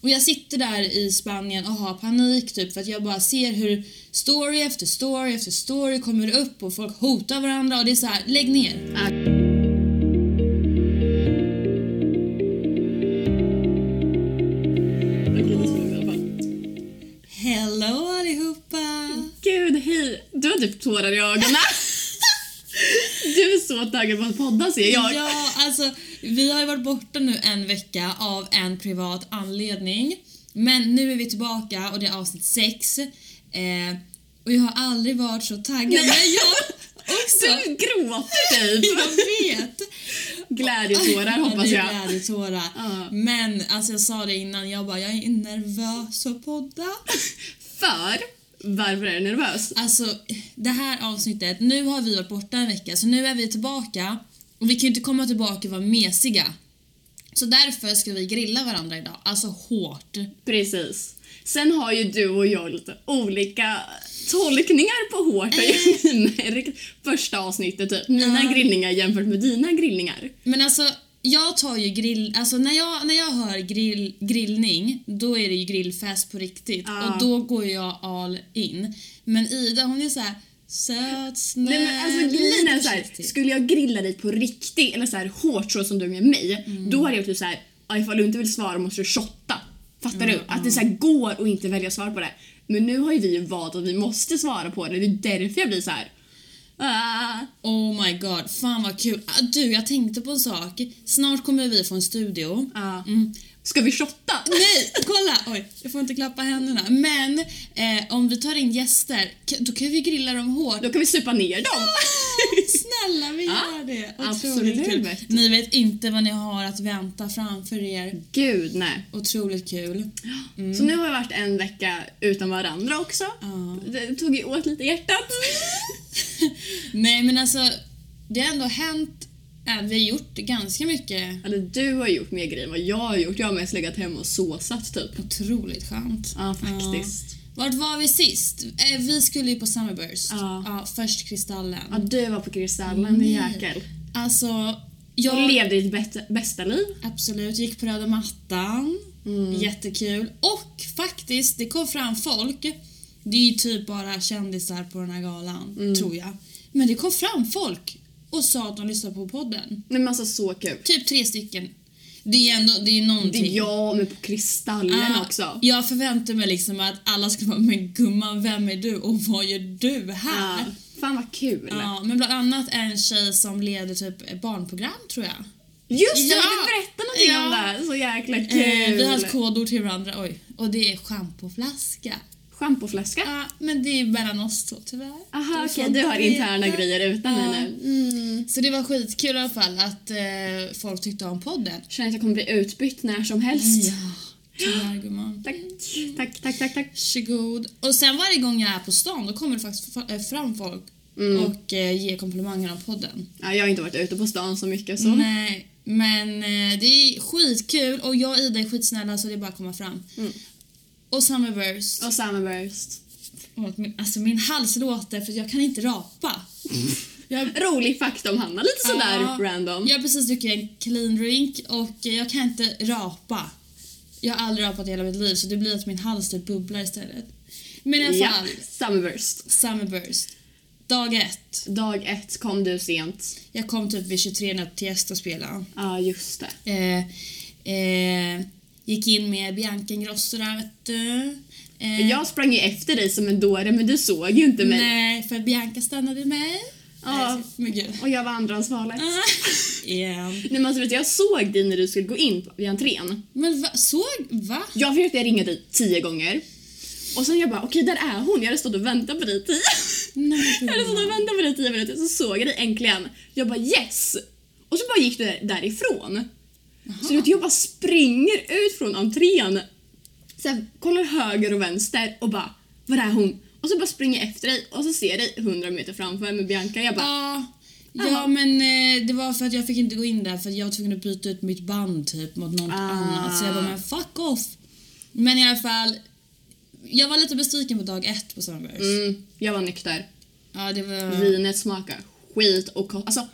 Och jag sitter där i Spanien och har panik typ för att jag bara ser hur story efter story efter story kommer upp och folk hotar varandra och det är så här, lägg ner. Jag glider till mig i alla fall. Hello allihopa! Gud, hej! Du har typ tårar i ögonen. du är så taggad på att podda ser jag. Ja, alltså vi har ju varit borta nu en vecka av en privat anledning. Men nu är vi tillbaka och det är avsnitt 6. Eh, och jag har aldrig varit så taggad. Nej. Men jag också. Du gråter typ. Jag vet. Glädjetårar hoppas Ja, jag. det är glädjetårar. Ja. Men alltså jag sa det innan, jag bara jag är nervös att podda. För, varför är du nervös? Alltså det här avsnittet, nu har vi varit borta en vecka så nu är vi tillbaka och vi kan ju inte komma tillbaka och vara mesiga. Så därför ska vi grilla varandra idag, alltså hårt. Precis. Sen har ju du och jag lite olika tolkningar på hårt har ju ni märkt första avsnittet typ. Mina Eh. Ja. grillningar jämfört med dina grillningar. Men alltså jag tar ju grill, alltså när jag, när jag hör grill, grillning då är det ju grillfest på riktigt Ja. och då går jag all in. Men Ida hon är så här söt, snäll, Nej men Mm. alltså grejen är lite såhär, försiktig. skulle jag grilla dig på riktigt eller såhär hårt så som du med mig, då hade jag typ såhär, "Ja, ifall du inte vill svara måste du shotta. Fattar du? Att det såhär går att inte välja svar på det. Men nu har ju vi valt att vi måste svara på det, det är därför jag blir såhär, ah. Oh my god, fan vad kul. Ah, Du, jag tänkte på en sak. Snart kommer vi få en studio. ah. Mm. Ska vi shotta? Nej, kolla! Oj, jag får inte klappa händerna. Men eh, om vi tar in gäster, k- då kan vi grilla dem hårt. Då kan vi supa ner dem. Snälla, vi Ja, gör det! Ah, absolut. Otroligt kul. Ni vet inte vad ni har att vänta framför er. Gud nej. Otroligt kul. Så nu har jag varit en vecka utan varandra också. Ja. Det tog ju åt lite hjärtat. Nej, men alltså, det har ändå hänt. Äh, vi har gjort ganska mycket Eller du har gjort mer grejer än vad jag har gjort. Jag har mest legat hemma och såsat typ. otroligt skönt. Ja, faktiskt. Vart var vi sist? Eh, Vi skulle ju på Summerburst. Ja. först Kristallen. Ja, du var på Kristallen, din jäkel. Alltså, Du jag levde ditt bästa, bästa liv. absolut gick på röda mattan. Mm. Jättekul. Och faktiskt, det kom fram folk. Det är ju typ bara kändisar på den här galan, Mm. tror jag. Men det kom fram folk och sa att de lyssnade på podden. Nej men alltså så kul. Typ tre stycken. Det är ju ändå, det är ju Det någonting. är jag men på Kristallen Ah, också. Jag förväntar mig liksom att alla ska vara “men gumman, vem är du och vad gör du här?” Ja, fan vad kul. Ja, men bland annat en tjej som leder typ ett barnprogram tror jag. Just det, Ja. du berätta någonting Ja. om det här. Så jäkla Eh, kul. vi har ett kodord till varandra, oj. Och det är schampoflaska. Schampoflaska. Ja, men det är mellan oss två tyvärr. Aha Du får okej, inte du har veta. interna grejer utan Ja. mig nu. Mm. Så det var skitkul i alla fall att eh, folk tyckte om podden. Känner att jag kommer bli utbytt när som helst. Tyvärr gumman. Tack, tack, tack, tack, tack. Varsågod. Och sen varje gång jag är på stan då kommer det faktiskt fa- eh, fram folk Mm. och eh, ger komplimanger om podden. Ja, jag har inte varit ute på stan så mycket så. Nej, men eh, det är skitkul och jag och Ida är skitsnälla så det är bara att komma fram. Mm. Och Summerburst. Och Summerburst. Och min, alltså min hals låter för jag kan inte rapa. Jag, Rolig fakta om Hanna, lite sådär Ja, random. Jag har precis druckit en clean drink och eh, jag kan inte rapa. Jag har aldrig rapat i hela mitt liv så det blir att min hals typ bubblar istället. Men i alla Ja, fall, Summerburst. Summerburst. Dag ett. Dag ett kom du sent. Jag kom typ vid 23 när Tiesto spelade. Ja, just det. Eh, eh, gick in med Bianca Ingrosso där vet du. Eh, Jag sprang ju efter dig som en dåre men du såg ju inte mig. Nej, för Bianca stannade med. Ja. Nej, men gud. Och jag var andrahandsvalet. Ah, igen. Nej men alltså vet du, jag såg dig när du skulle gå in på- vid entrén. Men va, såg, va? Jag försökte ringa dig tio gånger. Och sen jag bara okej där är hon, jag hade stått och väntat på dig tio. Nej, Jag hade gud. stått och väntat på dig tio minuter så såg jag dig äntligen. Jag bara yes! Och så bara gick du där- därifrån. Så du vet, jag bara springer ut från entrén. Sen kollar höger och vänster och bara var är hon? Och så bara springer jag efter dig och så ser jag dig 100 meter framför med Bianca. Jag bara Ja, Jaha. ja men eh, det var för att jag fick inte gå in där för att jag var tvungen att byta ut mitt band typ mot något Ah. annat. Så jag bara, men fuck off. Men i alla fall, jag var lite besviken på dag ett på Summerburst. mm, jag var nykter. Ja, det var... Vinet smakar skit och ko- alltså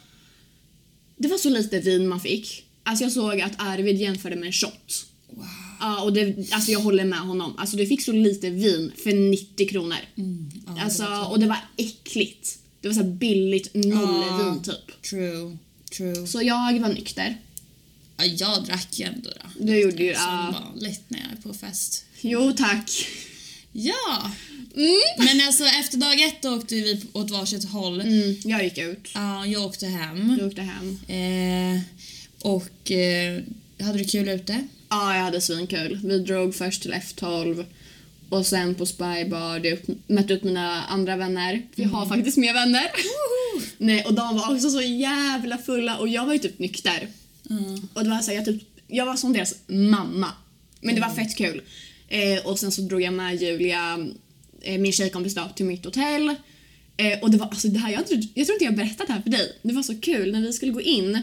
det var så lite vin man fick. Alltså jag såg att Arvid jämförde med en shot. Wow. Ja, och det, alltså jag håller med honom. Alltså du fick så lite vin för 90 kronor. Mm, ja, det alltså, var och det var äckligt. Det var så här billigt Ah. nollvin typ. True. True. Så jag var nykter. Ja, jag drack ju ändå då. Det gjorde ju Som ja. vanligt när jag är på fest. Jo tack. Ja! Mm. Men alltså efter dag ett då åkte vi åt varsitt håll. Mm, jag gick ut. Ja, jag åkte hem. Jag åkte hem. Eh, och eh, hade du kul ute? Ja, jag hade svinkul. Vi drog först till F12 och sen på Spybar. Jag upp, mötte upp mina andra vänner. Vi har faktiskt mer vänner. Nej, och de var också så jävla fulla och jag var ju typ nykter. Och det var så här, jag, typ, jag var som deras mamma. Men det var fett kul. Eh, och sen så drog jag med Julia, eh, min tjejkompis då, till mitt hotell. Eh, och det var, alltså det här, jag, tror- jag tror inte jag har berättat det här för dig. Det var så kul när vi skulle gå in.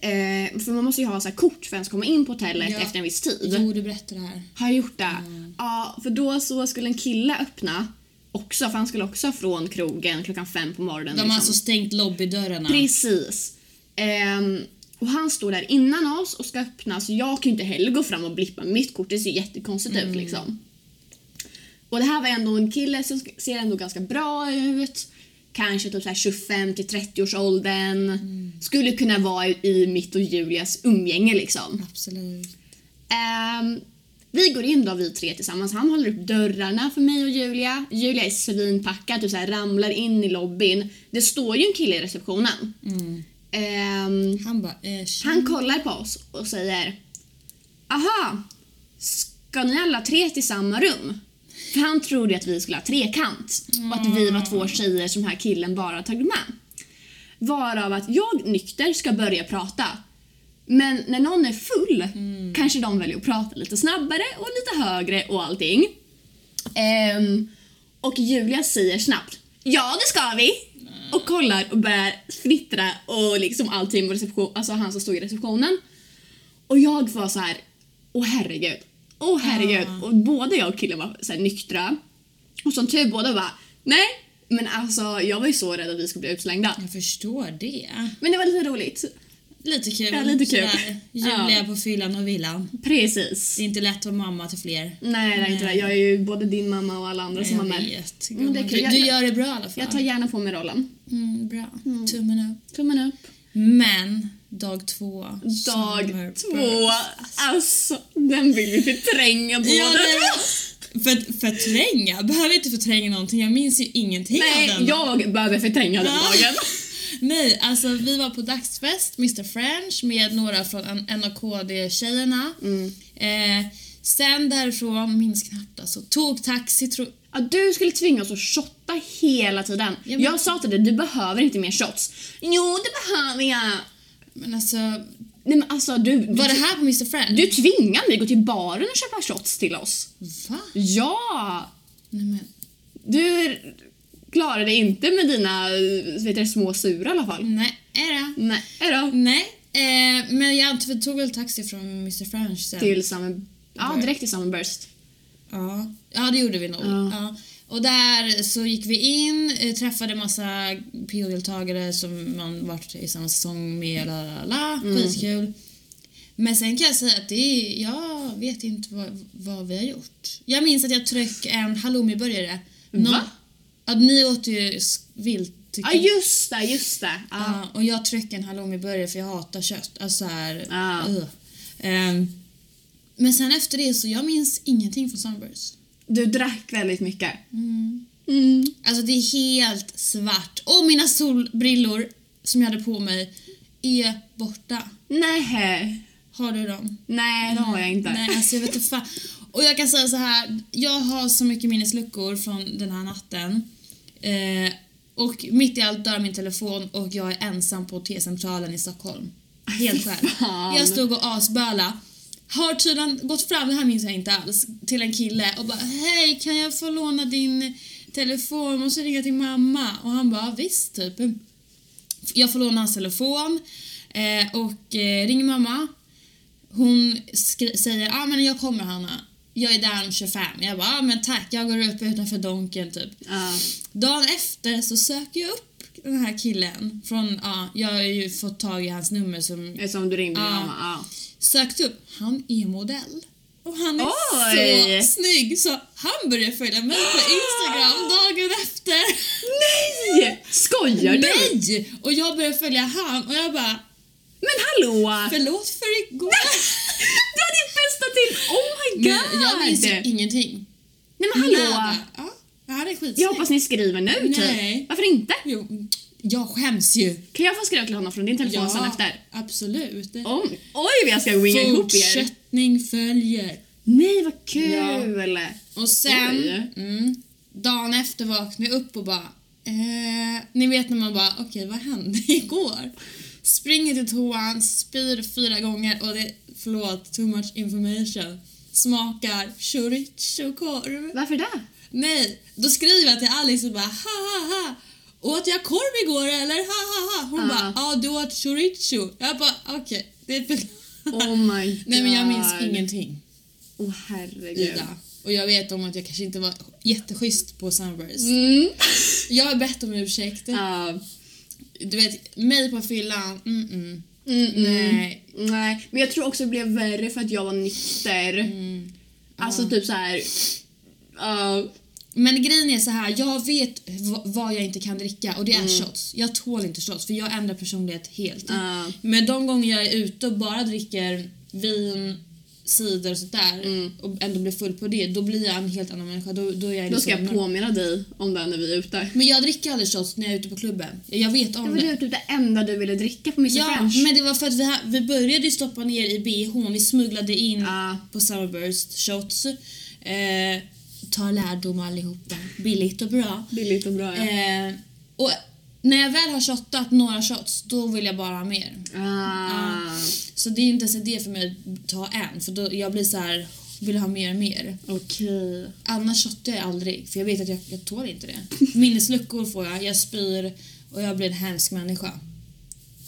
Eh, för man måste ju ha så här kort för att ens komma in på hotellet Ja. efter en viss tid. Jo, du berättade det här. Mm. Har jag gjort det? Ja, för då så skulle en kille öppna också, för han skulle också från krogen klockan fem på morgonen. De har liksom. alltså stängt lobbydörrarna. Precis. Ehm, och han står där innan oss och ska öppna så jag kan ju inte heller gå fram och blippa mitt kort. Det ser ju jättekonstigt ut liksom. Och det här var ändå en kille som sk- ser ändå ganska bra ut. Kanske typ så här 25 till 30 års åldern. Skulle kunna vara i- i mitt och Julias umgänge liksom. Absolut. Ehm, vi går in då vi tre tillsammans. Han håller upp dörrarna för mig och Julia. Julia är svinpackad, typ så här, ramlar in i lobbyn. Det står ju en kille i receptionen. Ehm, Han bara eh, tjena. han kollar på oss och säger Aha, ska ni alla tre till samma rum? För han trodde att vi skulle ha trekant och att vi var två tjejer som den här killen bara tagit med. Varav att jag nykter ska börja prata. Men när någon är full kanske de väljer att prata lite snabbare och lite högre och allting. Ehm, och Julia säger snabbt Ja, det ska vi! Och kollar och börjar fnittra och liksom allting med reception, alltså han som stod i receptionen. Och jag var så här, åh herregud, åh herregud. Och både jag och killen var så här nyktra. Och som tur båda var, nej, men alltså jag var ju så rädd att vi skulle bli utslängda. Jag förstår det. Men det var lite roligt. Lite kul. Ja, lite kul. Sådär, Julia Ja. på fyllan och villan. Precis. Det är inte lätt att vara mamma till fler. Nej, det är inte det. Jag är ju både din mamma och alla andra Mm, som har Jag med. vet. Men det är kul. Du, du gör det bra i alla fall. Jag tar gärna på mig rollen. mm, bra. Tummen upp. Tummen upp. Men dag två. Dag Summer två. burn. Alltså, den vill ju förtränga båda Ja, två. det, för, förtränga? Behöver inte förtränga någonting. Jag minns ju ingenting av Nej, den. jag behöver förtränga den Ja. dagen. Nej, alltså vi var på dagsfest, Mr French, med några från N- NKD-tjejerna. Mm. Eh, sen därifrån, minns knappt alltså, tog taxi, tro, Att du skulle tvinga oss att shotta hela tiden. Ja, men- Jag sa till dig, du behöver inte mer shots. Jo, det behöver jag. men alltså, Nej men alltså du, du, var det här på Mr French? du tvingar mig gå till baren och köpa shots till oss. Va? Ja! Nej men, Du klarade dig inte med dina vet du, små sura i alla fall. nej, är det? Nej då. Nej, eh, men jag antar- vi tog väl taxi från Mr French sen. Till summer... Ja, direkt till Summerburst. Ja, ja det gjorde vi nog. Ja. Ja. Och där så gick vi in, eh, träffade massa PO-deltagare som man varit i samma säsong med, la la la, Mm. skitkul. Men sen kan jag säga att det är, jag vet inte vad, vad vi har gjort. Jag minns att jag tryck en halloumiburgare. Någon- Va? Ja, ni åt ju sk- vilt tycker Ja, jag. just det, just det. Ja. Ja, och jag tryckte en halloumiburgare för jag hatar kött. Alltså så här, Ja. ugh. Ehm, men sen efter det så jag minns ingenting från Sunburst. Du drack väldigt mycket. Mm. Alltså det är helt svart. Och mina solbrillor som jag hade på mig är borta. Nej. Har du dem? Nej, det har jag inte. Nej, alltså jag vet inte fan. Och jag kan säga så här, jag har så mycket minnesluckor från den här natten. Eh, och mitt i allt dör min telefon och jag är ensam på T-centralen i Stockholm. Helt själv. fan. Jag stod och asböla. Har tydligen gått fram, det här minns jag inte alls, till en kille och bara Hej, kan jag få låna din telefon? Jag måste ringa till mamma. Och han bara visst, typ. Jag får låna hans telefon eh, och eh, ringer mamma. Hon skri- säger ah, men jag kommer Hanna. Jag är där om 25. Jag bara ah, men tack, jag går upp utanför Donken typ. Ja. Dagen efter så söker jag upp den här killen. Från, ja, jag har ju fått tag i hans nummer som Eftersom du ringde din Ja. mamma. Ja. sökt upp. Han är modell. Och han är Oj. så snygg så han började följa mig på Instagram dagen efter. Nej! Skojar du? Nej! Och jag började följa han och jag bara Men hallå! förlåt för igår. Du har din bästa till! Oh my god! Men jag minns ju ingenting. Nej men hallå! Men, ja, han är skitsnygg. Jag hoppas ni skriver nu typ. Nej. Varför inte? Jo, jag skäms ju. Kan jag få skriva till honom från din telefon sen efter? absolut. Om, oj vad jag ska winga Oh, ihop er! Fortsättning följer. Nej vad kul! Och sen, Oj. mm, dagen efter vaknade jag upp och bara... Eh, ni vet när man bara, okej vad hände igår? Springer till toan, spyr fyra gånger och det, förlåt, too much information. Smakar chorizo-korv. Varför det? Nej, då skriver jag till Alice och bara ha ha ha. Åt jag korv igår eller? Ha ha ha. Hon Ja. bara ja du åt chorizo. Jag bara okej, det är för... Oh my god. Nej men jag minns ingenting Åh herregud. Ida. Och jag vet om att jag kanske inte var jätteschysst på Sunburst. Mm. Jag har bett om ursäkt. Ja. Du vet, mig på fyllan, mm -mm. Mm, mm. Nej. Nej, men jag tror också det blev värre för att jag var nykter. Alltså typ så här. ja. Men grejen är så här, jag vet v- vad jag inte kan dricka och det är Mm. shots. Jag tål inte shots för jag ändrar personlighet helt. Ja. Men de gånger jag är ute och bara dricker vin, cider och sådär och ändå blir full på det, då blir jag en helt annan människa. Då, då, är jag Mm. Då ska liksom- jag påminna dig om det när vi är ute. Men jag dricker aldrig shots när jag är ute på klubben. Jag vet Det om var det. du, typ det enda du ville dricka på Mr Ja, French. men det var för att vi, ha- vi började ju stoppa ner i BH, vi smugglade in Ja. på Summerburst shots. Eh, ta lärdom allihopa, billigt och bra. Billigt och bra. Ja. Eh, och när jag väl har shottat några shots, då vill jag bara ha mer. Eh, Ah. Så det är inte ens idé för mig att ta en, för då jag blir så här vill ha mer och mer. Okej. Annars shottar jag aldrig, för jag vet att jag, jag tål inte det. Minnesluckor får jag, jag spyr och jag blir en hemsk människa.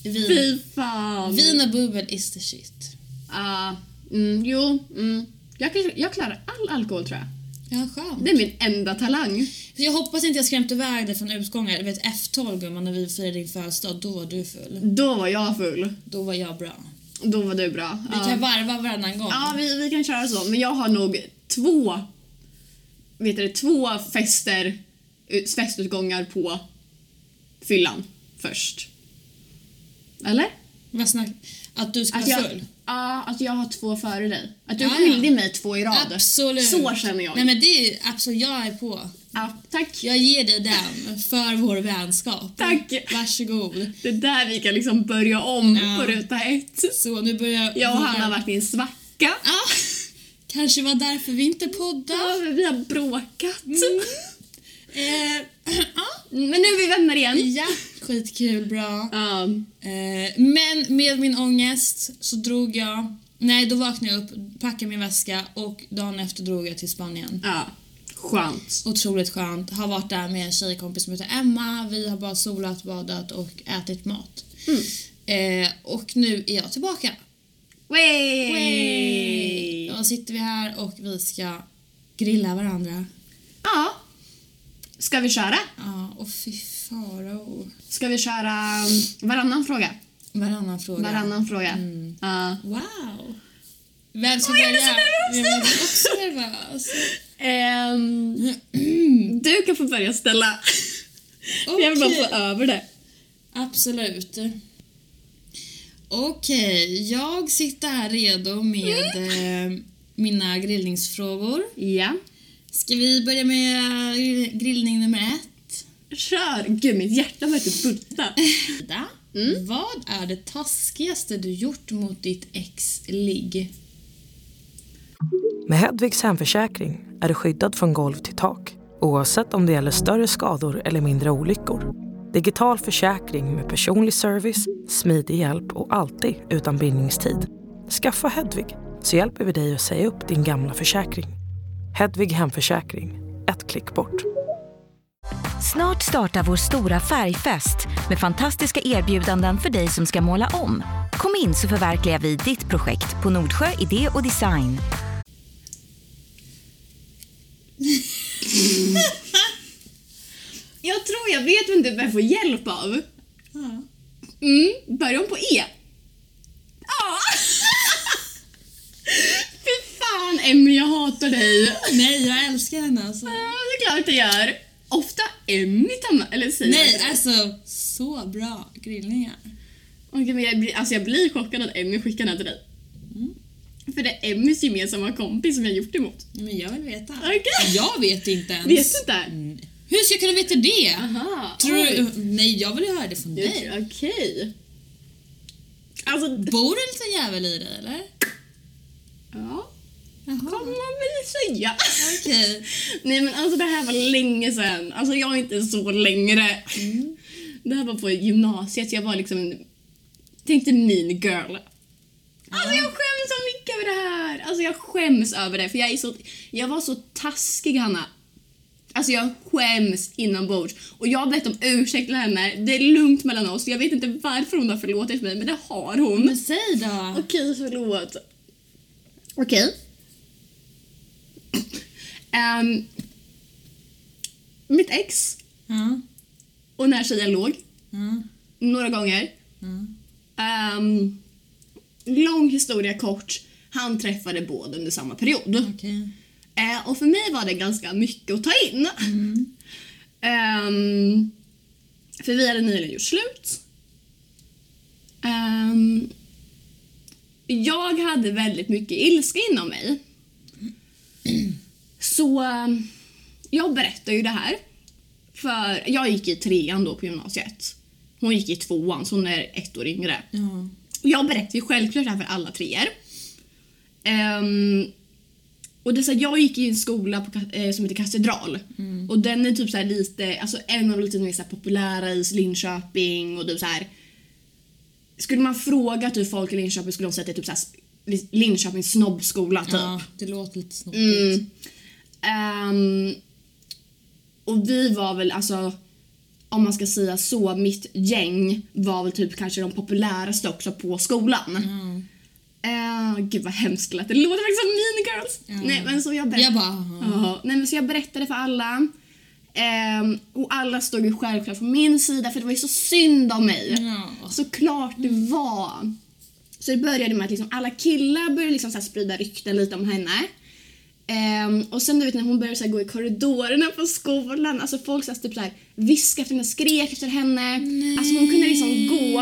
Vin, Fy fan. vin och bubbel is the shit. Ja. mm, jo. Mm. Jag, kan- jag klarar all alkohol tror jag. Ja, skönt. Det är min enda talang. Jag hoppas inte jag skrämt iväg dig från utgångar. Du vet F12 gumman, när vi firade din födelsedag, då var du full. Då var jag full. Då var jag bra. Då var du bra. Ah. Vi kan varva varannan gång. Ja, vi, vi kan köra så. Men jag har nog två, vet du, det, två fester, ut- festutgångar på fyllan först. Eller? Vad snack... Att du ska Att vara jag, full? Ah, ja, att jag har två före dig. Att du Ja, ja. skilde mig två i rad. Absolut. Så känner jag. Nej men det är ju- absolut, jag är på. ja, tack. Jag ger dig den för vår vänskap. Tack. Varsågod. Det är där vi kan liksom börja om Ja. på ruta ett. Så nu börjar Jag och Hanna har varit i en svacka. Ja, kanske var därför vi inte poddar. Ja, men vi har bråkat. Mm, Eh, ja. Men nu är vi vänner igen. ja, skitkul, bra. Ja. Eh, men med min ångest så drog jag... Nej, då vaknade jag upp, packade min väska och dagen efter drog jag till Spanien. ja. Skönt. Otroligt skönt. Har varit där med en tjejkompis som heter Emma. Vi har bara solat, badat och ätit mat. Mm. Eh, och nu är jag tillbaka. Way! Och då sitter vi här och vi ska grilla varandra. Ja. Ska vi köra? Ja, och fy farao. Ska vi köra um, varannan fråga? Varannan fråga. Varannan fråga. Ja. Wow! Vem ska Åh, jag blir så börja? Jag nervös blir också nervös. Ehm, du kan få börja ställa. Jag vill bara Okej. få över det. Absolut. Okej, jag sitter här redo med Mm. eh, mina grillningsfrågor. Ja. Ska vi börja med grill- grillning nummer ett? Kör! Gud, mitt hjärta börjar typ bulta. Ida, Mm. Vad är det taskigaste du gjort mot ditt ex ligg? Med Hedvigs hemförsäkring är du skyddad från golv till tak oavsett om det gäller större skador eller mindre olyckor. Digital försäkring med personlig service, smidig hjälp och alltid utan bindningstid. Skaffa Hedvig så hjälper vi dig att säga upp din gamla försäkring. Hedvig hemförsäkring, ett klick bort. Snart startar vår stora färgfest med fantastiska erbjudanden för dig som ska måla om. Kom in så förverkligar vi ditt projekt på Nordsjö Idé och Design. Jag tror jag vet vem du behöver få hjälp av. Ja. Mm, börja om på E. Ja! Fy fan, hatar dig. Nej, jag älskar henne alltså. Ja, det är klart jag gör. Ofta anytime, eller säger Nej, alltså så bra grillningar. Okej, men jag, blir- alltså jag blir chockad att Emmy skickar den här till dig. Mm. För det är Emmys gemensamma kompis som jag gjort emot. Men jag vill veta. Okej. Jag vet inte ens. Vet du inte? Mm. Hur ska jag kunna veta det? Aha, Tror oj. du, nej, jag vill ju höra det från Jag dig. tror- Okej. Alltså, Bor det en liten jävel i dig eller? ja, kan Jaha. man väl säga. Okej. Nej men alltså det här var länge sedan. Alltså jag är inte så längre. Mm. Det här var på gymnasiet. Jag var liksom en... Tänkte mean girl. Alltså jag skäms så mycket över det här. Alltså jag skäms över det för jag är så... Jag var så taskig Hanna. Alltså jag skäms inombords. Och jag har bett om ursäkt till henne. Det är lugnt mellan oss. Jag vet inte varför hon har förlåtit mig men det har hon. Men säg då. Okej, förlåt. Okej. Ehm, mitt ex Ja, och den här tjejen låg ja, några gånger. ja. Ehm, lång historia kort. Han träffade båda under samma period. Okej. Eh, och för mig var det ganska mycket att ta in. Ehm, för vi hade nyligen gjort slut. Ehm, jag hade väldigt mycket ilska inom mig. Så eh, jag berättar ju det här. För jag gick i trean då på gymnasiet. Hon gick i tvåan, så hon är ett år yngre. Ja. Och Jag berättar ju självklart det här för alla treor. Ehm, och det är så här, jag gick i en skola på, Ka- eh, som heter Katedral. Och den är typ så här lite, alltså en av de lite mer så här populära i Linköping och typ så här. Skulle man fråga typ folk i Linköping skulle de säga att det är typ så här s- Linköpings snobbskola typ. ja, det låter lite snoppigt. Mm. Ehm, och vi var väl alltså, om man ska säga så, mitt gäng var väl typ kanske de populäraste också på skolan. Mm. Eh, gud vad hemskt det lät. Det låter faktiskt som Mean Girls. Ja. Nej, men så jag, berätt- Jag bara, aha. Ja, nej, men så jag berättade för alla. Ehm, och alla stod ju självklart på min sida för det var ju så synd om mig. Ja. Såklart det var. Så det började med att liksom alla killar började liksom så här sprida rykten lite om henne. Ehm, och sen du vet när hon började så här gå i korridorerna på skolan, alltså folk så här, typ så här, viskade efter henne, skrek efter henne. Alltså hon kunde liksom gå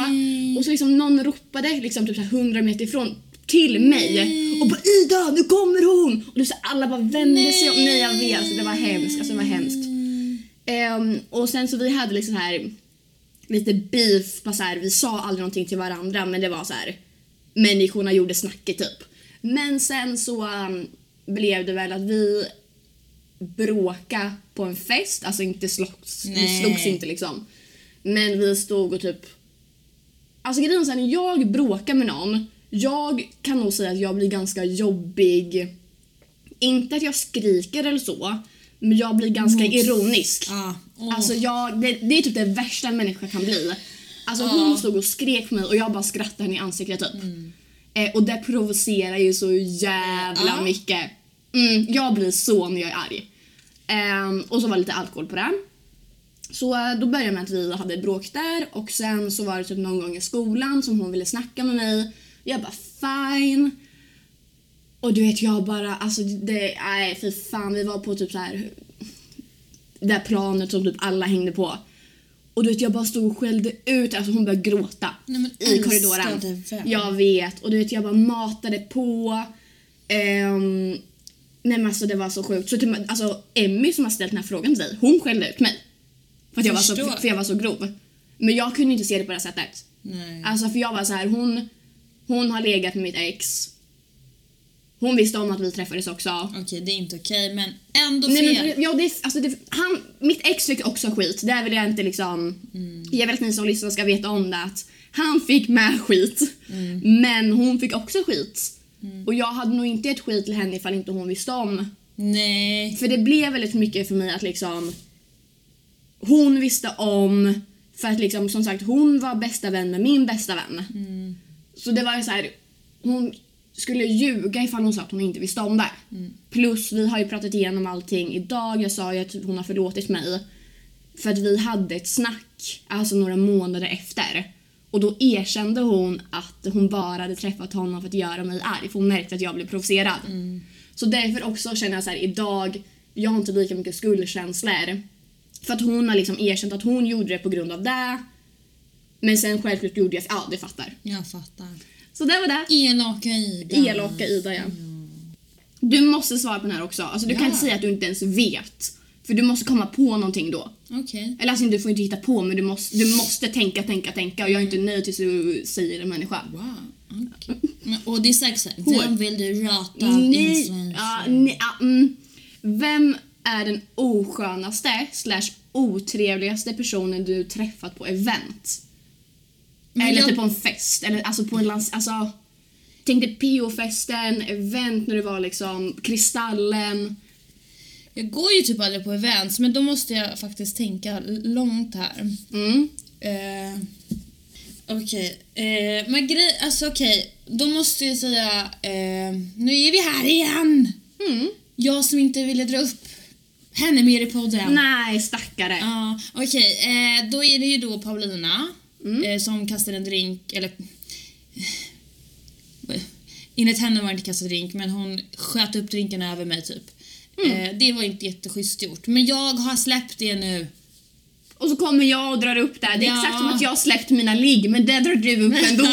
och så liksom någon ropade liksom typ så här 100 meter ifrån till mig och bara Ida nu kommer hon! Och du så här, alla bara vände sig om. Nej jag vet, alltså, det var hemskt. Alltså det var hemskt. Ehm, och sen så vi hade liksom så här lite beef. På så här, vi sa aldrig någonting till varandra men det var så här människorna gjorde snacket typ. Men sen så um, blev det väl att vi bråka på en fest, alltså inte slogs, vi Nej. slogs inte liksom. Men vi stod och typ Alltså grejen är så här, när jag bråkar med någon, jag kan nog säga att jag blir ganska jobbig. Inte att jag skriker eller så, men jag blir ganska ironisk. Ja, åh. Alltså jag, det, det är typ det värsta en människa kan bli. Alltså hon stod och skrek på mig och jag bara skrattade henne i ansiktet typ. Eh, och det provocerar ju så jävla Ja. mycket. Mm, jag blir så när jag är arg. Ehm, och så var det lite alkohol på det. Så eh, då började det med att vi hade bråk där och sen så var det typ någon gång i skolan som hon ville snacka med mig. Jag bara fine. Och du vet jag bara alltså det, nej fy fan vi var på typ så här det här planet som typ alla hängde på. Och du vet jag bara stod och skällde ut, alltså hon började gråta Nej, men i korridoren. älskade vän. Jag vet och du vet jag bara matade på. Ehm, nej men alltså det var så sjukt. Så typ, alltså Emmy som har ställt den här frågan till dig, hon skällde ut mig. För, att jag, var så, Förstår. för jag var så grov. Men jag kunde inte se det på det här sättet. Nej. Alltså för jag var så här, hon, hon har legat med mitt ex. Hon visste om att vi träffades också. Okej, det är inte okej, men ändå fel. Nej, men, ja, det, är- alltså, det, han, mitt ex fick också skit. Det vill jag inte liksom... Mm. Jag vill att ni som lyssnar ska veta om det. Att han fick med skit, Mm. men hon fick också skit. Och jag hade nog inte gett skit till henne ifall inte hon visste om. Nej. För det blev väldigt mycket för mig att liksom... Hon visste om, för att liksom, som sagt hon var bästa vän med min bästa vän. Så det var ju så här, hon skulle ljuga ifall hon sa att hon inte visste om det. Plus vi har ju pratat igenom allting idag. Jag sa ju att hon har förlåtit mig. För att vi hade ett snack, alltså några månader efter. Och då erkände hon att hon bara hade träffat honom för att göra mig arg för hon märkte att jag blev provocerad. Så därför också känner jag så här idag, jag har inte lika mycket skuldkänslor. För att hon har liksom erkänt att hon gjorde det på grund av det. Men sen självklart gjorde jag, ja du fattar. Jag fattar. Så det var det. Elaka Ida. Elaka Ida, ja. Du måste svara på den här också. Alltså, du Ja. kan inte säga att du inte ens vet. För du måste komma på någonting då. Okej. Eller alltså, du får inte hitta på, men du måste, du måste tänka, tänka, tänka. Och jag är inte nöjd tills du säger en människa. Wow. okej. Men, och det är säkert såhär, Hår. vem vill du rata? Ni, influencer? ja, ni, ja, mm. Vem är den oskönaste slash otrevligaste personen du träffat på event? Men eller jag- typ på en fest, eller alltså på en lands... Alltså, tänk dig PO-festen, event när du var liksom Kristallen. Jag går ju typ aldrig på events men då måste jag faktiskt tänka l- långt här. Mm. Eh, okej, eh, men grej, alltså okej, då måste jag säga, eh, nu är vi här igen! Mm. Jag som inte ville dra upp henne mer i podden. Nej, stackare. Ja, okej, eh, då är det ju då Paulina eh, som kastar en drink, eller enligt henne var det inte kastat drink men hon sköt upp drinken över mig typ. Eh, det var inte jätteschysst gjort men jag har släppt det nu. Och så kommer jag och drar upp det. här. Det är Ja. exakt som att jag har släppt mina ligg, men det drar du upp ändå.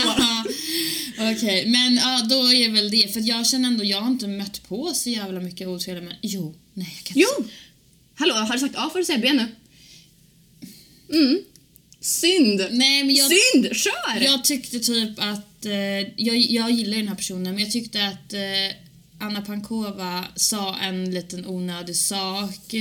Okej, men ja, då är väl det. För att jag känner ändå, jag har inte mött på så jävla mycket otrevliga men Jo, nej jag kan inte jo! säga. Hallå, har du sagt A får du säga B nu. Mm. Synd. Nej, men jag, Synd! Kör! jag tyckte typ att, eh, jag, jag gillar ju den här personen men jag tyckte att eh, Anna Pankova sa en liten onödig sak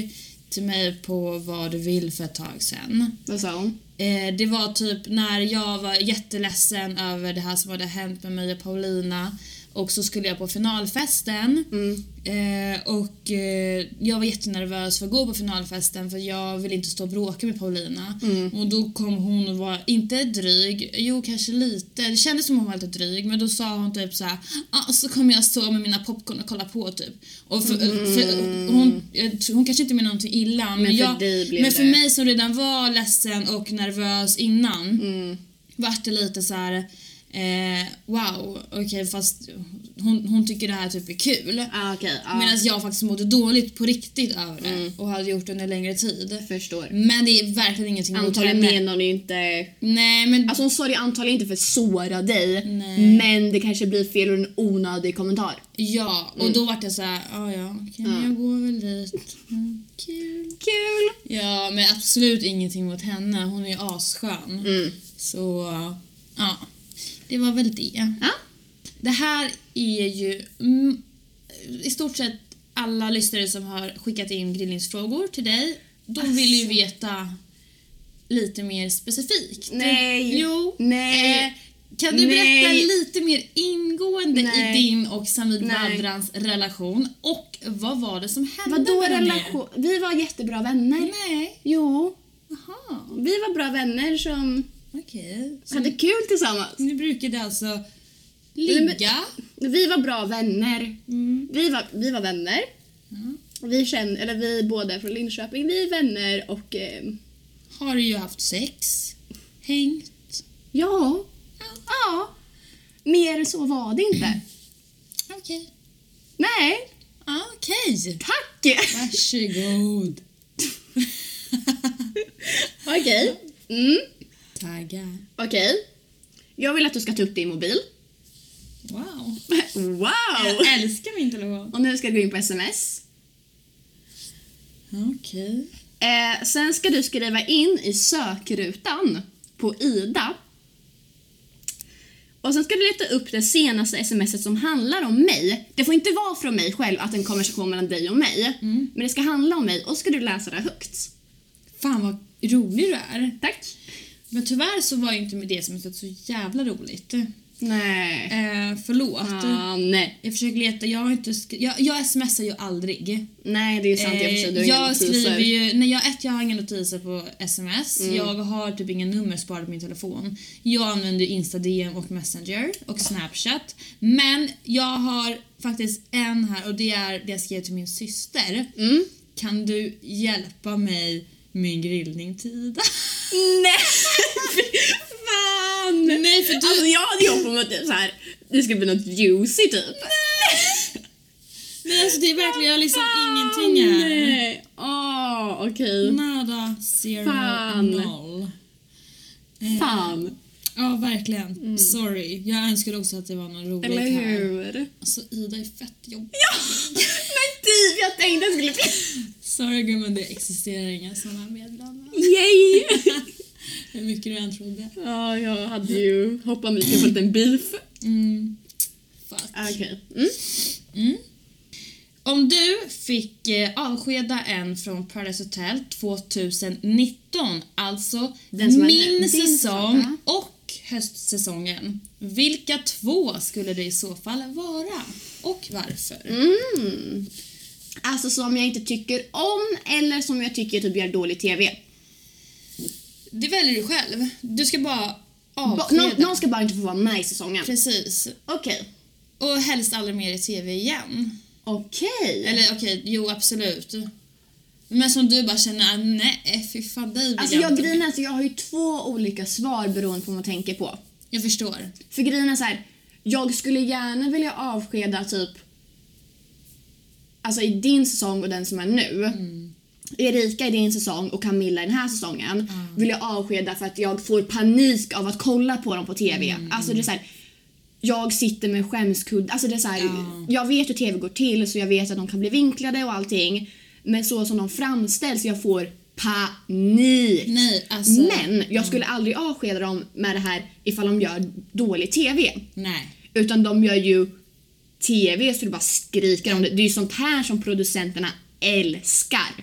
till mig på vad du vill för ett tag sedan. Vad sa hon? Eh, det var typ när jag var jätteledsen över det här som hade hänt med mig och Paulina och så skulle jag på finalfesten Mm. eh, och eh, jag var jättenervös för att gå på finalfesten för jag ville inte stå och bråka med Paulina Mm. och då kom hon och var, inte dryg, jo kanske lite, det kändes som hon var lite dryg men då sa hon typ så här, ah, så kommer jag stå med mina popcorn och kolla på typ och för, Mm. för, hon, jag tror- hon kanske inte menar någonting illa men, för jag, dig blev men för det- mig mig som redan var ledsen och nervös innan Mm. vart det lite så här. Eh, wow, okej fast hon, hon tycker det här typ är kul. Ah, Okej, ja. Mm. Medan jag faktiskt mådde dåligt på riktigt över det och hade gjort det under längre tid. förstår. Men det är verkligen ingenting mot Antagligen henne. menar hon ju inte... Nej men Alltså hon sa det antagligen inte för att såra dig, Nej. men det kanske blir fel och en onödig kommentar. ja, mm. och då vart jag så här, ah, ja okej men jag går väl dit. Mm, kul. Kul! Ja men absolut ingenting mot henne, hon är ju asskön. Mm. Så ja, det var väl det. Ja. Det här är ju mm, i stort sett alla lyssnare som har skickat in grillningsfrågor till dig. De Alltså. vill ju veta lite mer specifikt. Nej. Jo. Nej. Eh, kan du Nej. berätta lite mer ingående Nej. i din och Samid Nej. Badrans relation och vad var det som hände Vadå mellan er? relation? Vi var jättebra vänner. Nej. Jo, Jaha, vi var bra vänner Mm. som okej. hade kul tillsammans. Ni brukade alltså men- ligga? Vi var bra vänner. Vi, var, vi var vänner. Vi, känner, eller vi båda är från Linköping. Vi är vänner och eh, Har du ju haft sex? Hängt? ja. ja. Mer än så var det inte. Okej. Nej, Ah, Okej. tack! Varsågod. Okej. Mm, Tagga. Okej. Jag vill att du ska ta upp din mobil. Wow. Wow! Jag älskar min telefon. Och nu ska du gå in på sms. Okej. Eh, sen ska du skriva in i sökrutan på Ida. Och sen ska du leta upp det senaste smset som handlar om mig. Det får inte vara från mig själv att en konversation mellan dig och mig. Mm. Men det ska handla om mig och ska du läsa det högt. Fan vad rolig du är. Tack. Men tyvärr så var ju inte med det som ett så jävla roligt. Nej. Eh, förlåt. Ah, nej. Jag försöker leta, jag har inte skri- jag, jag smsar ju aldrig. nej, det är sant. Jag, förstår, du har Eh, inga jag notiser. skriver ju, nej jag, ett, jag har inga notiser på sms, Mm. jag har typ inga nummer sparade på min telefon. Jag använder Insta DM och Messenger och Snapchat. Men jag har faktiskt en här och det är det jag skrev till min syster. Mm. Kan du hjälpa mig med en grillning Tida? Nej! Fan! Nej, för du- Alltså jag hade ju hopp om att det, så här, det skulle bli något juicy typ. Nej, Alltså det är verkligen liksom ingenting här. Nej! Åh, okej. Nada, zero, Fan. noll. Fan. Ja, verkligen. Sorry. Jag önskar också att det var någon rolig Mm. Eller här. hur? Alltså Ida är fett jobbig. Men typ, jag tänkte att jag skulle... Sorry gumman, det existerar inga sådana medlemmar. Yay! Hur mycket du än trodde. Ja, jag hade ju hoppat mycket på en liten beef. Mm. Fuck. Okej. Mm. Om du fick eh, avskeda en från Paradise Hotel 2019, alltså Den som är min din säsong säsong, och höstsäsongen. Vilka två skulle det i så fall vara? Och varför? Mm. Alltså som jag inte tycker om eller som jag tycker typ gör dålig TV. Det väljer du själv. Du ska bara Ba- avskeda. Någon, någon ska bara inte få vara med i säsongen. Precis. Okej. Och helst aldrig mer i TV igen. Okej. Eller okej, jo absolut. Men som du bara känner, ah, nej fy fan dig vill Alltså jag inte. grinar så jag har ju två olika svar beroende på vad man tänker på. Jag förstår. För grejen är så här, jag skulle gärna vilja avskeda typ Alltså i din säsong och den som är nu. Mm. Erika i din säsong och Camilla i den här säsongen Mm. vill jag avskeda för att jag får panik av att kolla på dem på TV. Mm. Alltså det är så här, jag sitter med skämskudde. Alltså det är så här, Jag vet hur TV går till så jag vet att de kan bli vinklade och allting. Men så som de framställs, jag får panik. Nej, alltså- Men jag skulle aldrig avskeda dem med det här ifall de gör dålig TV. Nej. Utan de gör ju TV så du bara skriker om det. Det är ju sånt här som producenterna älskar.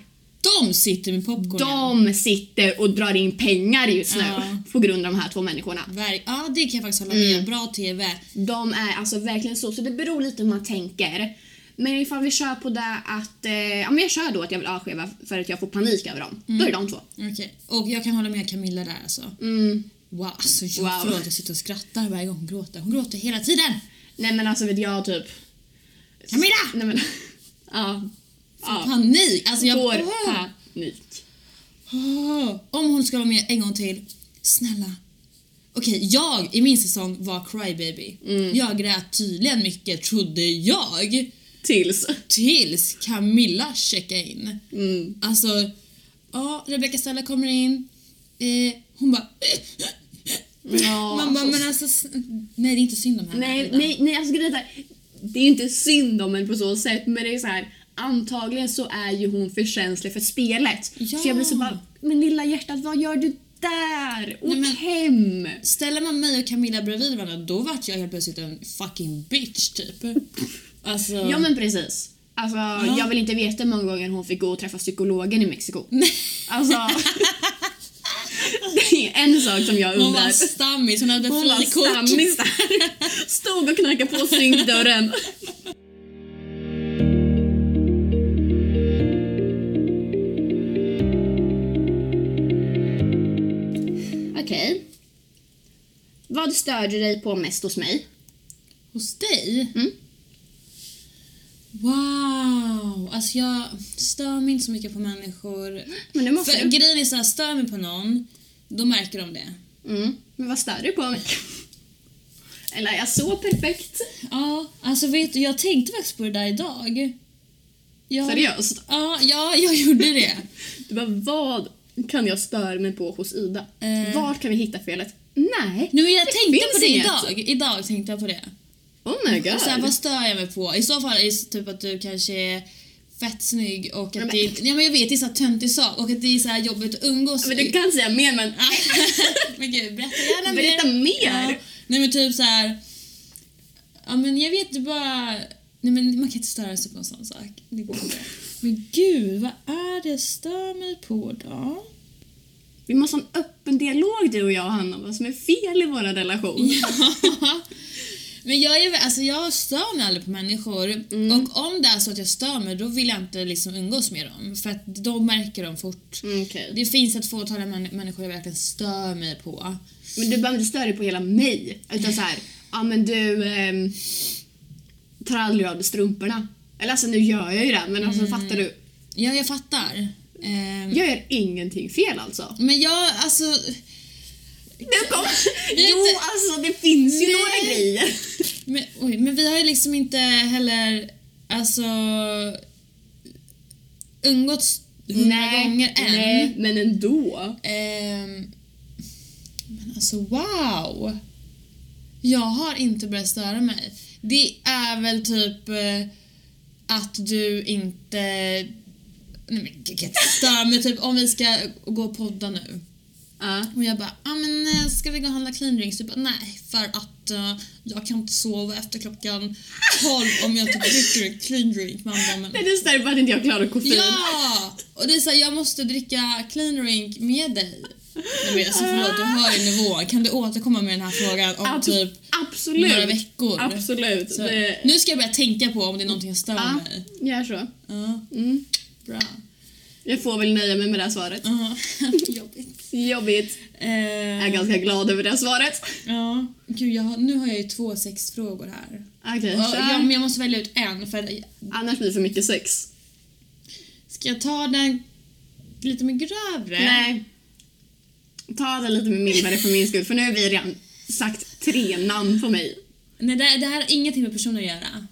De sitter med popcorn. De sitter och drar in pengar just nu Ja. på grund av de här två människorna. Verk- ja, det kan jag faktiskt hålla Mm. med Bra TV. De är alltså verkligen så, så det beror lite hur man tänker. Men ifall vi kör på det att, eh, ja men jag kör då att jag vill avskeda för att jag får panik över dem. Då är det de två. Okej. Och jag kan hålla med Camilla där alltså. Wow, alltså jag, Mm. Wow. förlåt jag sitter och skrattar varje gång hon gråter. Hon gråter hela tiden. Nej men alltså vet jag typ... Camilla! Nej men... ja. ja. Panik! Alltså jag Får Åh. panik. Åh. Om hon ska vara med en gång till, snälla. Okej, jag i min säsong var crybaby. Mm. Jag grät tydligen mycket, trodde jag. Tills. Tills Camilla checkade in. Mm. Alltså, ja, Rebecca Stella kommer in. Eh, hon bara... Ja, Man bara, alltså. men alltså... s- Nej, det är inte synd om henne. Nej, Ida. nej, nej alltså grejen är så här, det är inte synd om henne på så sätt men det är så här antagligen så är ju hon för känslig för spelet. Ja. Så jag blir så bara, men lilla hjärtat vad gör du där? Åk Nej, men- hem! Ställer man mig och Camilla bredvid varandra, då vart jag helt plötsligt en fucking bitch, typ. Alltså... Ja men precis. Alltså jag vill inte veta hur många gånger hon fick gå och träffa psykologen i Mexiko. Alltså. det är en sak som jag hon var undrar. stammis, hon hade Hon var frikort. stammis där. Stod och knackade på synkdörren. Okej. Vad störde dig på mest hos mig? Hos dig? Mm. Wow! Alltså jag stör mig inte så mycket på människor. Men det måste För du. grejen är såhär, stör mig på någon, då märker de det. Mm. Men vad störde du på mig? Eller är jag så perfekt? Ja, alltså vet du, jag tänkte faktiskt på det där idag. Jag, Seriöst? Ja, ja, jag gjorde det. Du bara, vad kan jag störa mig på hos Ida? Eh. Var kan vi hitta felet? Nej, Nu, men jag tänkte finns på det inget. idag. Idag tänkte jag på det. Oh my god. Så här, vad stör jag mig på? I så fall är det typ att du kanske är fett snygg och Men- att det är, ja, men jag vet, det är så här töntig sak och att det är så här jobbigt att umgås Men du kan säga mer men... men gud, berätta gärna Berätta mer. Ja. Nej men typ så här. Ja men jag vet du bara... Nej men man kan inte störa sig på en sån sak. Det går inte. Men gud, vad är det jag stör mig på då? Vi måste ha en öppen dialog du och jag och Hanna om vad som är fel i vår relation. Ja. Men jag, är, väl- alltså jag stör mig aldrig på människor Mm. och om det är så att jag stör mig då vill jag inte liksom umgås med dem för att då märker de fort. Mm, okej. Det finns ett fåtal män- människor jag verkligen stör mig på. Men du behöver inte störa dig på hela mig. Utan så här, ja men du ehm, tar aldrig av dig strumporna. Eller alltså nu gör jag ju det men Mm. alltså fattar du? Ja, jag fattar. Ehm, Jag gör ingenting fel alltså. Men jag, alltså... Du kom. är Jo inte- alltså det finns ju Nej. några grejer. Men, oj, men vi har ju liksom inte heller alltså umgåtts hundra gånger än. nej, men ändå. Ehm, men alltså wow! Jag har inte börjat störa mig. Det är väl typ eh, att du inte... Nej men jag kan inte störa mig. Typ om vi ska gå och podda nu. Ja. Och jag bara, ah, men eh, ska vi gå och handla clean drinks? Du bara, nej för att eh, jag kan inte sova efter klockan 12 om jag inte dricker en clean drink. Man bara, men Nej, det är sådär bara att inte jag klarar koffein. Ja! Och det är såhär, jag måste dricka clean drink med dig. Nej, men alltså förlåt, du hör ju nivån. Kan du återkomma med den här frågan om Ab- typ absolut. några veckor? Absolut. Så, Det, nu ska jag börja tänka på om det är någonting som stör ja, mig. gör så. Ja, Mm. bra. Jag får väl nöja mig med det här svaret. Ja, jobbigt. Jobbigt. Jag är Eh, ganska glad över det här svaret. ja. Gud, jag, har- nu har jag ju två sexfrågor här. Okej, Ja, kör. ja, men jag måste välja ut en. För Annars blir det för mycket sex. ska jag ta den lite mer grövre? Nej. Ta det lite med mildare för min skull, för nu har vi redan sagt tre namn på mig. Nej, det, det här har ingenting med personen att göra.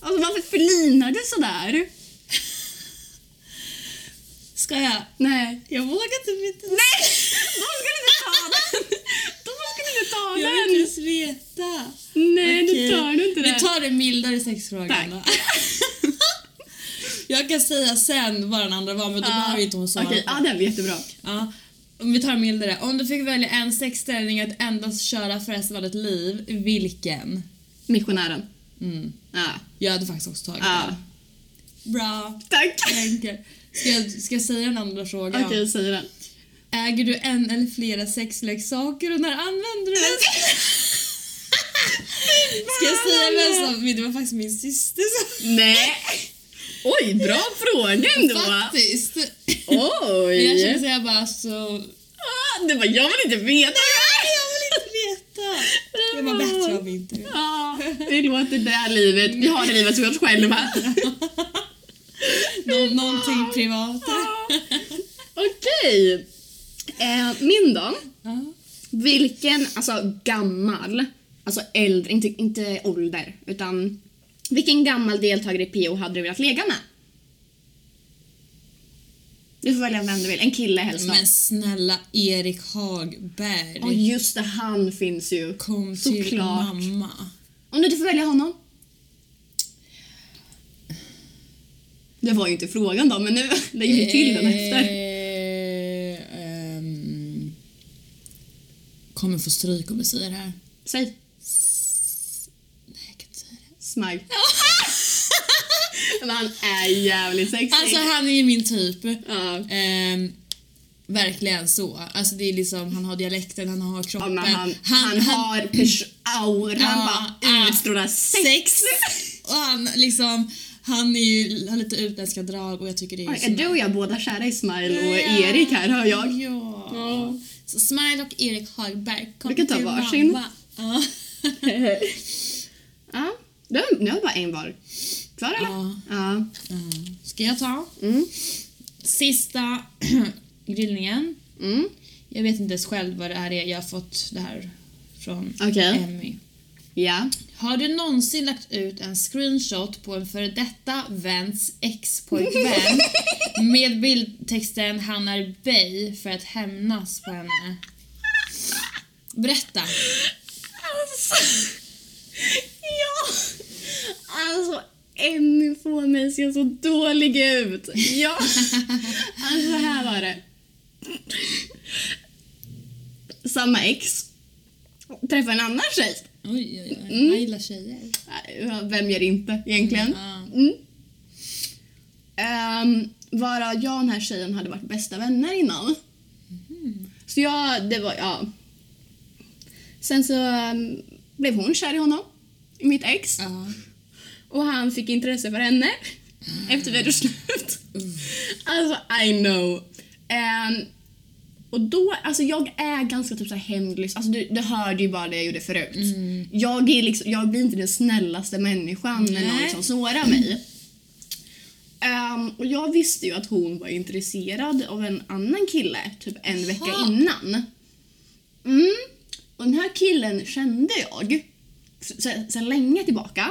Alltså varför förlinar du sådär? Ska jag? Nej. Jag vågar typ inte. Nej! De skulle inte ta den! De skulle inte ta Jag vill inte den! ens veta. Nej, Okej. nu tar du inte Vi den. tar den mildare sexfrågan Tack. då. Jag kan säga sen vad den andra var men då behöver ju inte hon svara. Okej, på. ja den var jättebra. Ja. Om vi tar den mildare. Om du fick välja en sexställning att endast köra för resten av ditt liv, vilken? Missionären. Mm. Ja. Jag hade faktiskt också tagit ja. den. Bra. Tack! Enkel. Ska jag, ska jag säga den andra frågan? Okej, säg den. Äger du en eller flera sexleksaker och när använder du den? Ska jag säga vem som... Det var faktiskt min syster som... Nej! Oj, bra fråga ändå! Faktiskt. Men jag kände Oj! så jag bara så... Ah, Det var jag vill inte veta det här! inte veta. Det var bättre om vi inte vet. Ja, det låter det här livet. Vi har det livet för oss själva. Nå- någonting privat. Okej. Eh, min då. Ja. Vilken, alltså gammal, alltså äldre, inte, inte ålder, utan vilken gammal deltagare i PO hade du velat lägga med? Du får välja vem du vill. En kille helst då. Men snälla Erik Hagberg. Och just det, han finns ju. Kom till såklart. mamma. Om du inte får välja honom. Det var ju inte frågan då, men nu lägger vi till den efter. Eh, ehm, kommer få stryk om jag säger det här. Säg. Nej, jag kan inte säga det. Smile. Men han är jävligt sexig. Alltså han är ju min typ. Ja. Ehm, verkligen så. Alltså det är liksom, han har dialekten, han har Ja, kroppen. men han, han, har pers- auran, Ja, bara ja. utstrålar sex. sex. Och han liksom, han är ju har lite utländska drag och jag tycker det är Är du så och jag båda kära i Smile och Erik här, hör jag. Ja. Ja. Så Smile och Erik Hagberg, kom Vi kan ta till varsin. mamma. Ja. Ehm, Ja, nu har- nu har vi bara en var kvar eller? Ja. ja. Mm. Ska jag ta? Mm. Sista grillningen. Mm. Jag vet inte ens själv vad det här är. Jag har fått det här från Okej. Emmy. ja. Har du någonsin lagt ut en screenshot på en före detta väns ex-pojkvän med bildtexten “Han är bej” för att hämnas på henne? Berätta. Alltså. Ja. Alltså, Emmy får mig se så dålig ut. Ja. Alltså, så här var det. Samma ex träffar en annan tjej. Oj, oj, oj. Jag gillar tjejer. Nej, Vem gör inte egentligen? Ja. Mm. Ehm, varav jag och den här tjejen hade varit bästa vänner innan. Så jag, det var, ja. Sen så ehm, blev hon kär i honom, i mitt ex. Ja. Och han fick intresse för henne efter vi hade gjort slut. Alltså, I know. Ehm, och då, alltså jag är ganska typ så här hämndlysten. Alltså du, du hörde ju bara det jag gjorde förut. Jag, är liksom, jag blir inte den snällaste människan när någon Nej. liksom sårar mig. Ehm, och jag visste ju att hon var intresserad av en annan kille typ en vecka Jaha. innan. Mm. Och den här killen kände jag sen, sen länge tillbaka.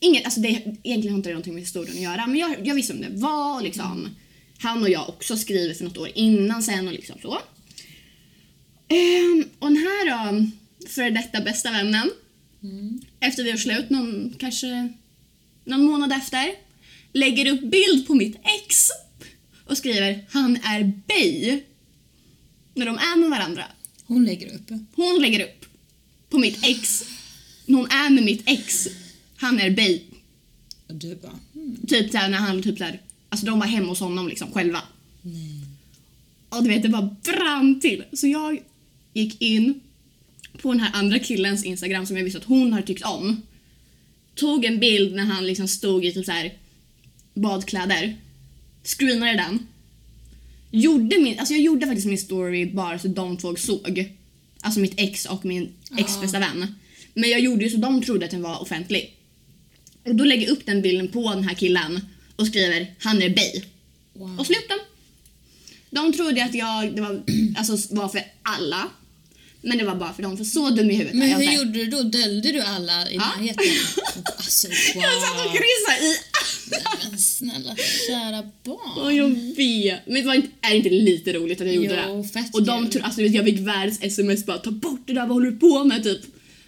Inget, alltså det, egentligen har inte det någonting med historien att göra, men jag, jag visste om det var. och Liksom, han och jag också skrivit för något år innan sen och liksom så. Ehm, och den här då, före detta bästa vännen. Efter vi har slut, någon, kanske någon månad efter, lägger upp bild på mitt ex och skriver “Han är bi” när de är med varandra. Hon lägger upp. Hon lägger upp på mitt ex. Hon är med mitt ex. Han är bi. Och du bara... Mm. Typ såhär när han typ såhär, alltså de var hemma hos honom liksom själva. Och du vet det bara brann till. Så jag gick in på den här andra killens instagram som jag visste att hon har tyckt om. Tog en bild när han liksom stod i typ såhär badkläder. Screenade den. Gjorde min, alltså jag gjorde faktiskt min story bara så de två såg. Alltså mitt ex och min ex bästa vän. Men jag gjorde ju så de trodde att den var offentlig. Och då lägger jag upp den bilden på den här killen och skriver han är bi. Wow. Och slog upp den. De trodde att jag det var, alltså, var för alla. Men det var bara för dem, för så dum i huvudet Men är jag hur inte. gjorde du då? Döljde du alla i Ja. närheten? Alltså wow. Jag satt och kryssade i Men snälla kära barn. Ja, jag vet. Men det var inte, är det inte lite roligt att jag gjorde Jo, det? fett och de kul. tro, alltså, du vet, jag fick världens sms bara ta bort det där, vad håller du på med? Typ.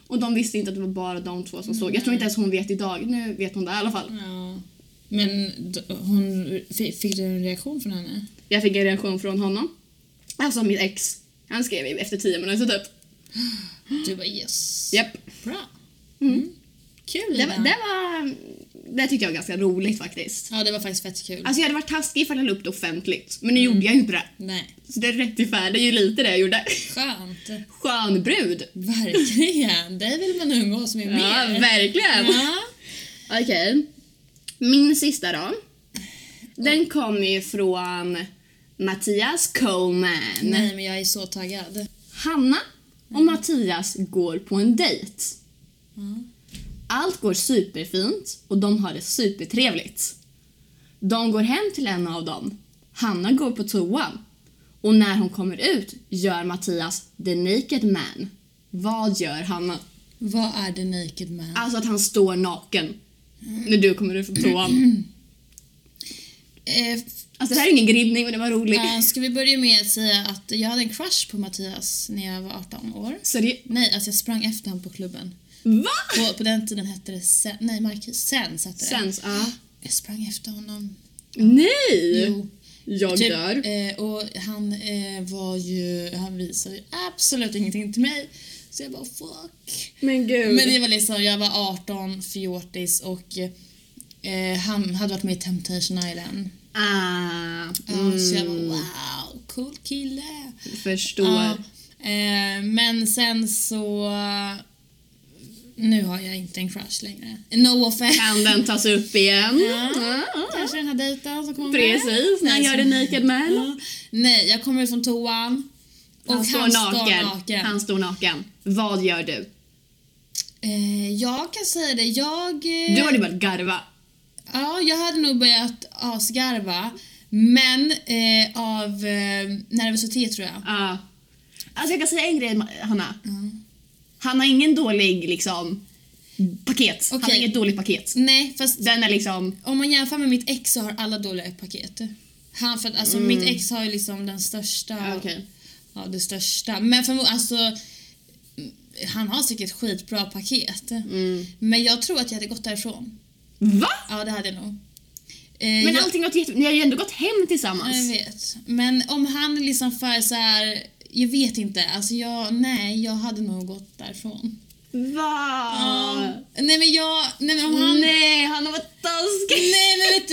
Och de visste inte att det var bara de två som såg. Jag tror inte ens hon vet idag. Nu vet hon det i alla fall. Ja. Men d- hon, fi- fick du en reaktion från henne? Jag fick en reaktion från honom. Alltså mitt ex. Han skrev efter tio minuter typ. Du bara yes. Japp. Bra. Mm. Kul Det, var- Ida. det var... Det tyckte jag var ganska roligt faktiskt. Ja, det var faktiskt fett kul. Alltså jag hade varit taskig ifall jag la upp det offentligt. Men nu gjorde jag ju inte det. Nej, Så det rättfärdigar ju lite det jag gjorde. skönt. Skön brud. Verkligen. Det vill man umgås med Ja, mer. verkligen. Ja. Okej. Min sista då. Den kommer ju från Mattias Coleman. Nej, men jag är så taggad. Hanna och Mm. Mattias går på en dejt. Allt går superfint och de har det supertrevligt. De går hem till en av dem. Hanna går på toan. Och när hon kommer ut gör Mattias the naked man. Vad gör Hanna? Vad är det Naked Man? Alltså att han står naken Mm. när du kommer ut från toan. Eh, f- Alltså det här är ingen grillning men det var roligt. ja, ska vi börja med att säga att jag hade en crush på Mattias när jag var 18 år. Seriöst? Nej, alltså jag sprang efter honom på klubben. Va? På, på den tiden hette det Sen, nej Marcus, Sens hette det. Sens, ja. Jag sprang efter honom. Nej! Jo. Jag Typ, dör. eh, och han eh, var ju, han visade ju absolut ingenting till mig. Så jag bara fuck. Men gud. Men det var liksom, jag var 18, fjortis och eh, han hade varit med i Temptation Island. Ah, Ja, Så jag var wow, cool kille. förstår. Ja, eh, men sen så... Nu har jag inte en crush längre. No offense. Kan den tas upp igen? Ja, ja. Kanske den här dejten som kommer. Precis, när han Nej, gör det så- naked man. Ja. Mm. Nej, jag kommer ut från toan. Och han, står naken. Han står naken. Vad gör du? Eh, jag kan säga det, jag... eh, Du hade börjat garva. Ja, jag hade nog börjat asgarva. Men eh, av eh, nervositet tror jag. Ja. Alltså jag kan säga en grej Hanna. Mm. Han har ingen dålig liksom paket. Han har Okej. inget dåligt paket. Nej, fast Den är liksom... om man jämför med mitt ex så har alla dåliga paket. Han, för att, alltså, Mitt ex har ju liksom den största... Okej. Ja, det största. Men för, alltså, mm, han har säkert skitbra paket. Men jag tror att jag hade gått därifrån. Va? Ja, det hade jag nog. Eh, Men jag, allting har gått jätte... Ni har ju ändå gått hem jag tillsammans. vet. Men om han är liksom för så här... Jag vet inte. Alltså jag, nej, jag hade nog gått därifrån. Va? Nej men jag... Nej men om han... Nej, Nej, han har varit taskig. men vet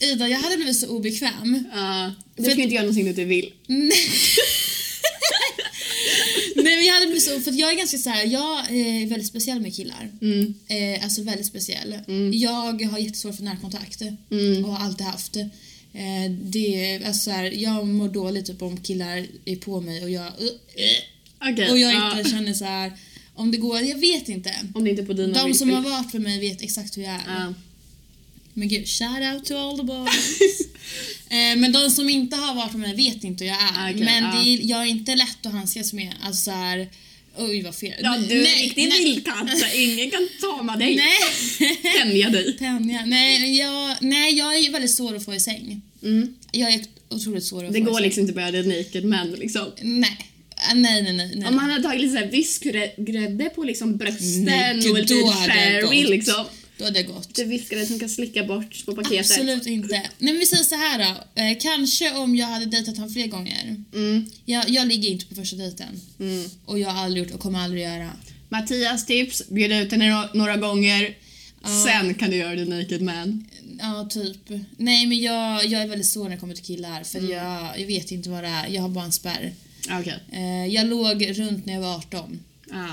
du Ida, jag hade blivit så obekväm. Ja, du För- ska ju inte göra någonting du inte vill. Nej. Nej men jag hade blivit så, för att jag är ganska så här, jag är väldigt speciell med killar. Eh, alltså väldigt speciell. Jag har jättesvårt för närkontakt och har alltid haft. Eh, det, är- alltså så här, jag mår dåligt typ, om killar är på mig och jag, Okej. och jag ja. inte känner så här om det går, jag vet inte. Om det inte är på dina De som villkor. har varit med mig vet exakt hur jag är. Ja. Men gud, shout out to all the boys. eh, men de som inte har varit med mig vet inte hur jag är. Ah, Okej, men ja. det är, jag är inte lätt att handskas med. Alltså så här, Oj, vad fel. Ja, Nej, du är en nej, riktig nej. vildkatt. Ingen kan tama dig. Nej. Tänja dig. Penja. Nej jag, nej, jag är ju väldigt svår att få i säng. Jag är otroligt svår att Mm. Det få går i säng. liksom inte att börja det naked man liksom. Nej. Äh, Nej, nej, nej. nej. Om man hade tagit lite så här viskgrädde på liksom brösten Nej, gud, och lite då hade jag sherry gått. liksom. Då hade jag gått. Det viskgrädde som kan slicka bort på paketet. Absolut inte. Nej, men vi säger så här då. Eh, kanske om jag hade dejtat honom fler gånger. Jag, jag ligger inte på första dejten. Och jag har aldrig gjort och kommer aldrig göra. Mattias tips, bjud ut henne några- några gånger. Sen kan du göra det naked man. Ja, typ. Nej, men jag, jag är väldigt svår när det kommer till killar. För jag, jag vet inte vad det är. Jag har bara en spärr. Ah, Okej. Eh, jag låg runt när jag var 18. Ah,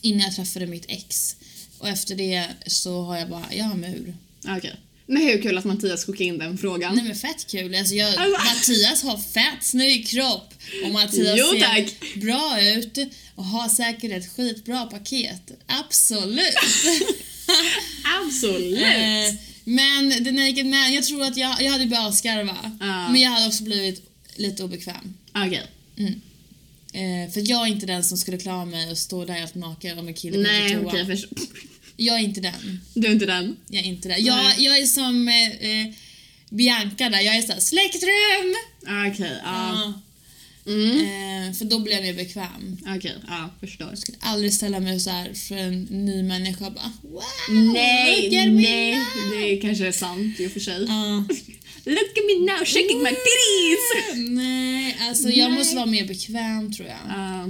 Innan jag träffade mitt ex. Och efter det så har jag bara, jag har mur. ah, okej. Men hur kul att Mattias skickade in den frågan. Nej men fett kul. Alltså jag, Alltså- Mattias har fett snygg kropp. Och Mattias Jo, ser tack. bra ut och har säkert ett skitbra paket. Absolut. Absolut! Eh, men The Naked Man, jag tror att jag, jag hade börjat skarva. Ja. Men jag hade också blivit lite obekväm. Okej. Eh, för jag är inte den som skulle klara mig och stå där helt naken om en kille går Nej, på okej toa. jag förstår. Jag är inte den. Du är inte den? Jag är inte det. Jag, jag är som eh, eh, Bianca där, jag är såhär släktrum! Ah, Okej, ja. Mm. Eh, för då blir jag mer bekväm. Okej, ja, förstår. Aldrig ställa mig så här för en ny människa och bara wow, Nej, look at me nej, now." det kanske är sant i och för sig. Ja. Look at me now shaking my titties! Nej, alltså jag måste vara mer bekväm tror jag. Ja,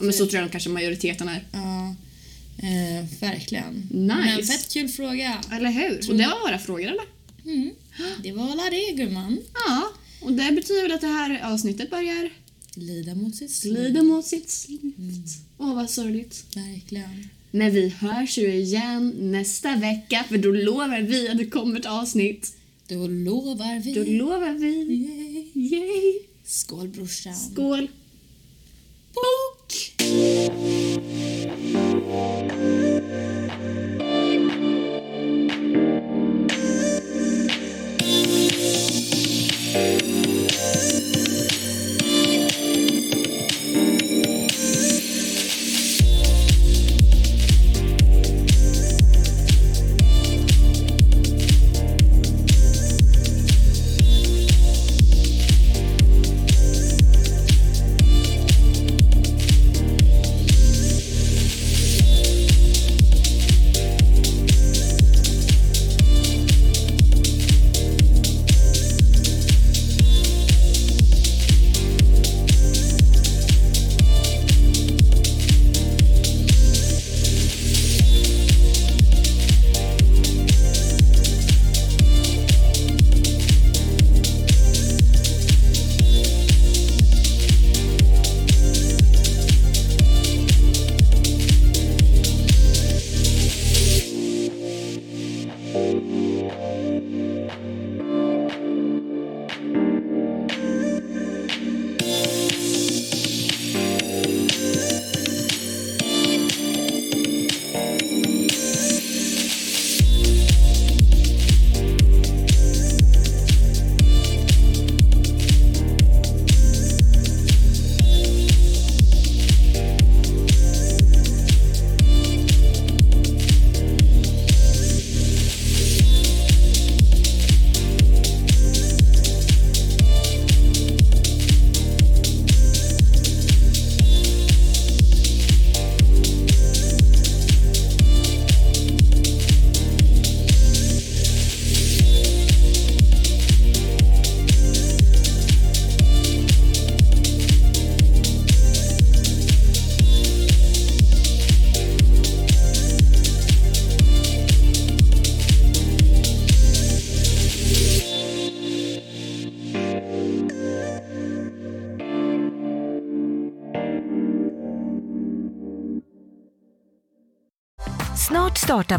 men så tror jag kanske majoriteten är. Ja. Eh, verkligen. Nice. Men fett kul fråga. Mm. Eller hur? Och det var våra frågor eller? Det var alla det gumman. Ja, och det betyder väl att det här avsnittet börjar Lida mot sitt slut. glida mot sitt slut. Åh, vad sorgligt. Verkligen. Men vi hörs ju igen nästa vecka för då lovar vi att det kommer ett avsnitt. Då lovar vi. Då lovar vi. Yay. Yay! Skål brorsan. Skål! Bok! Snart startar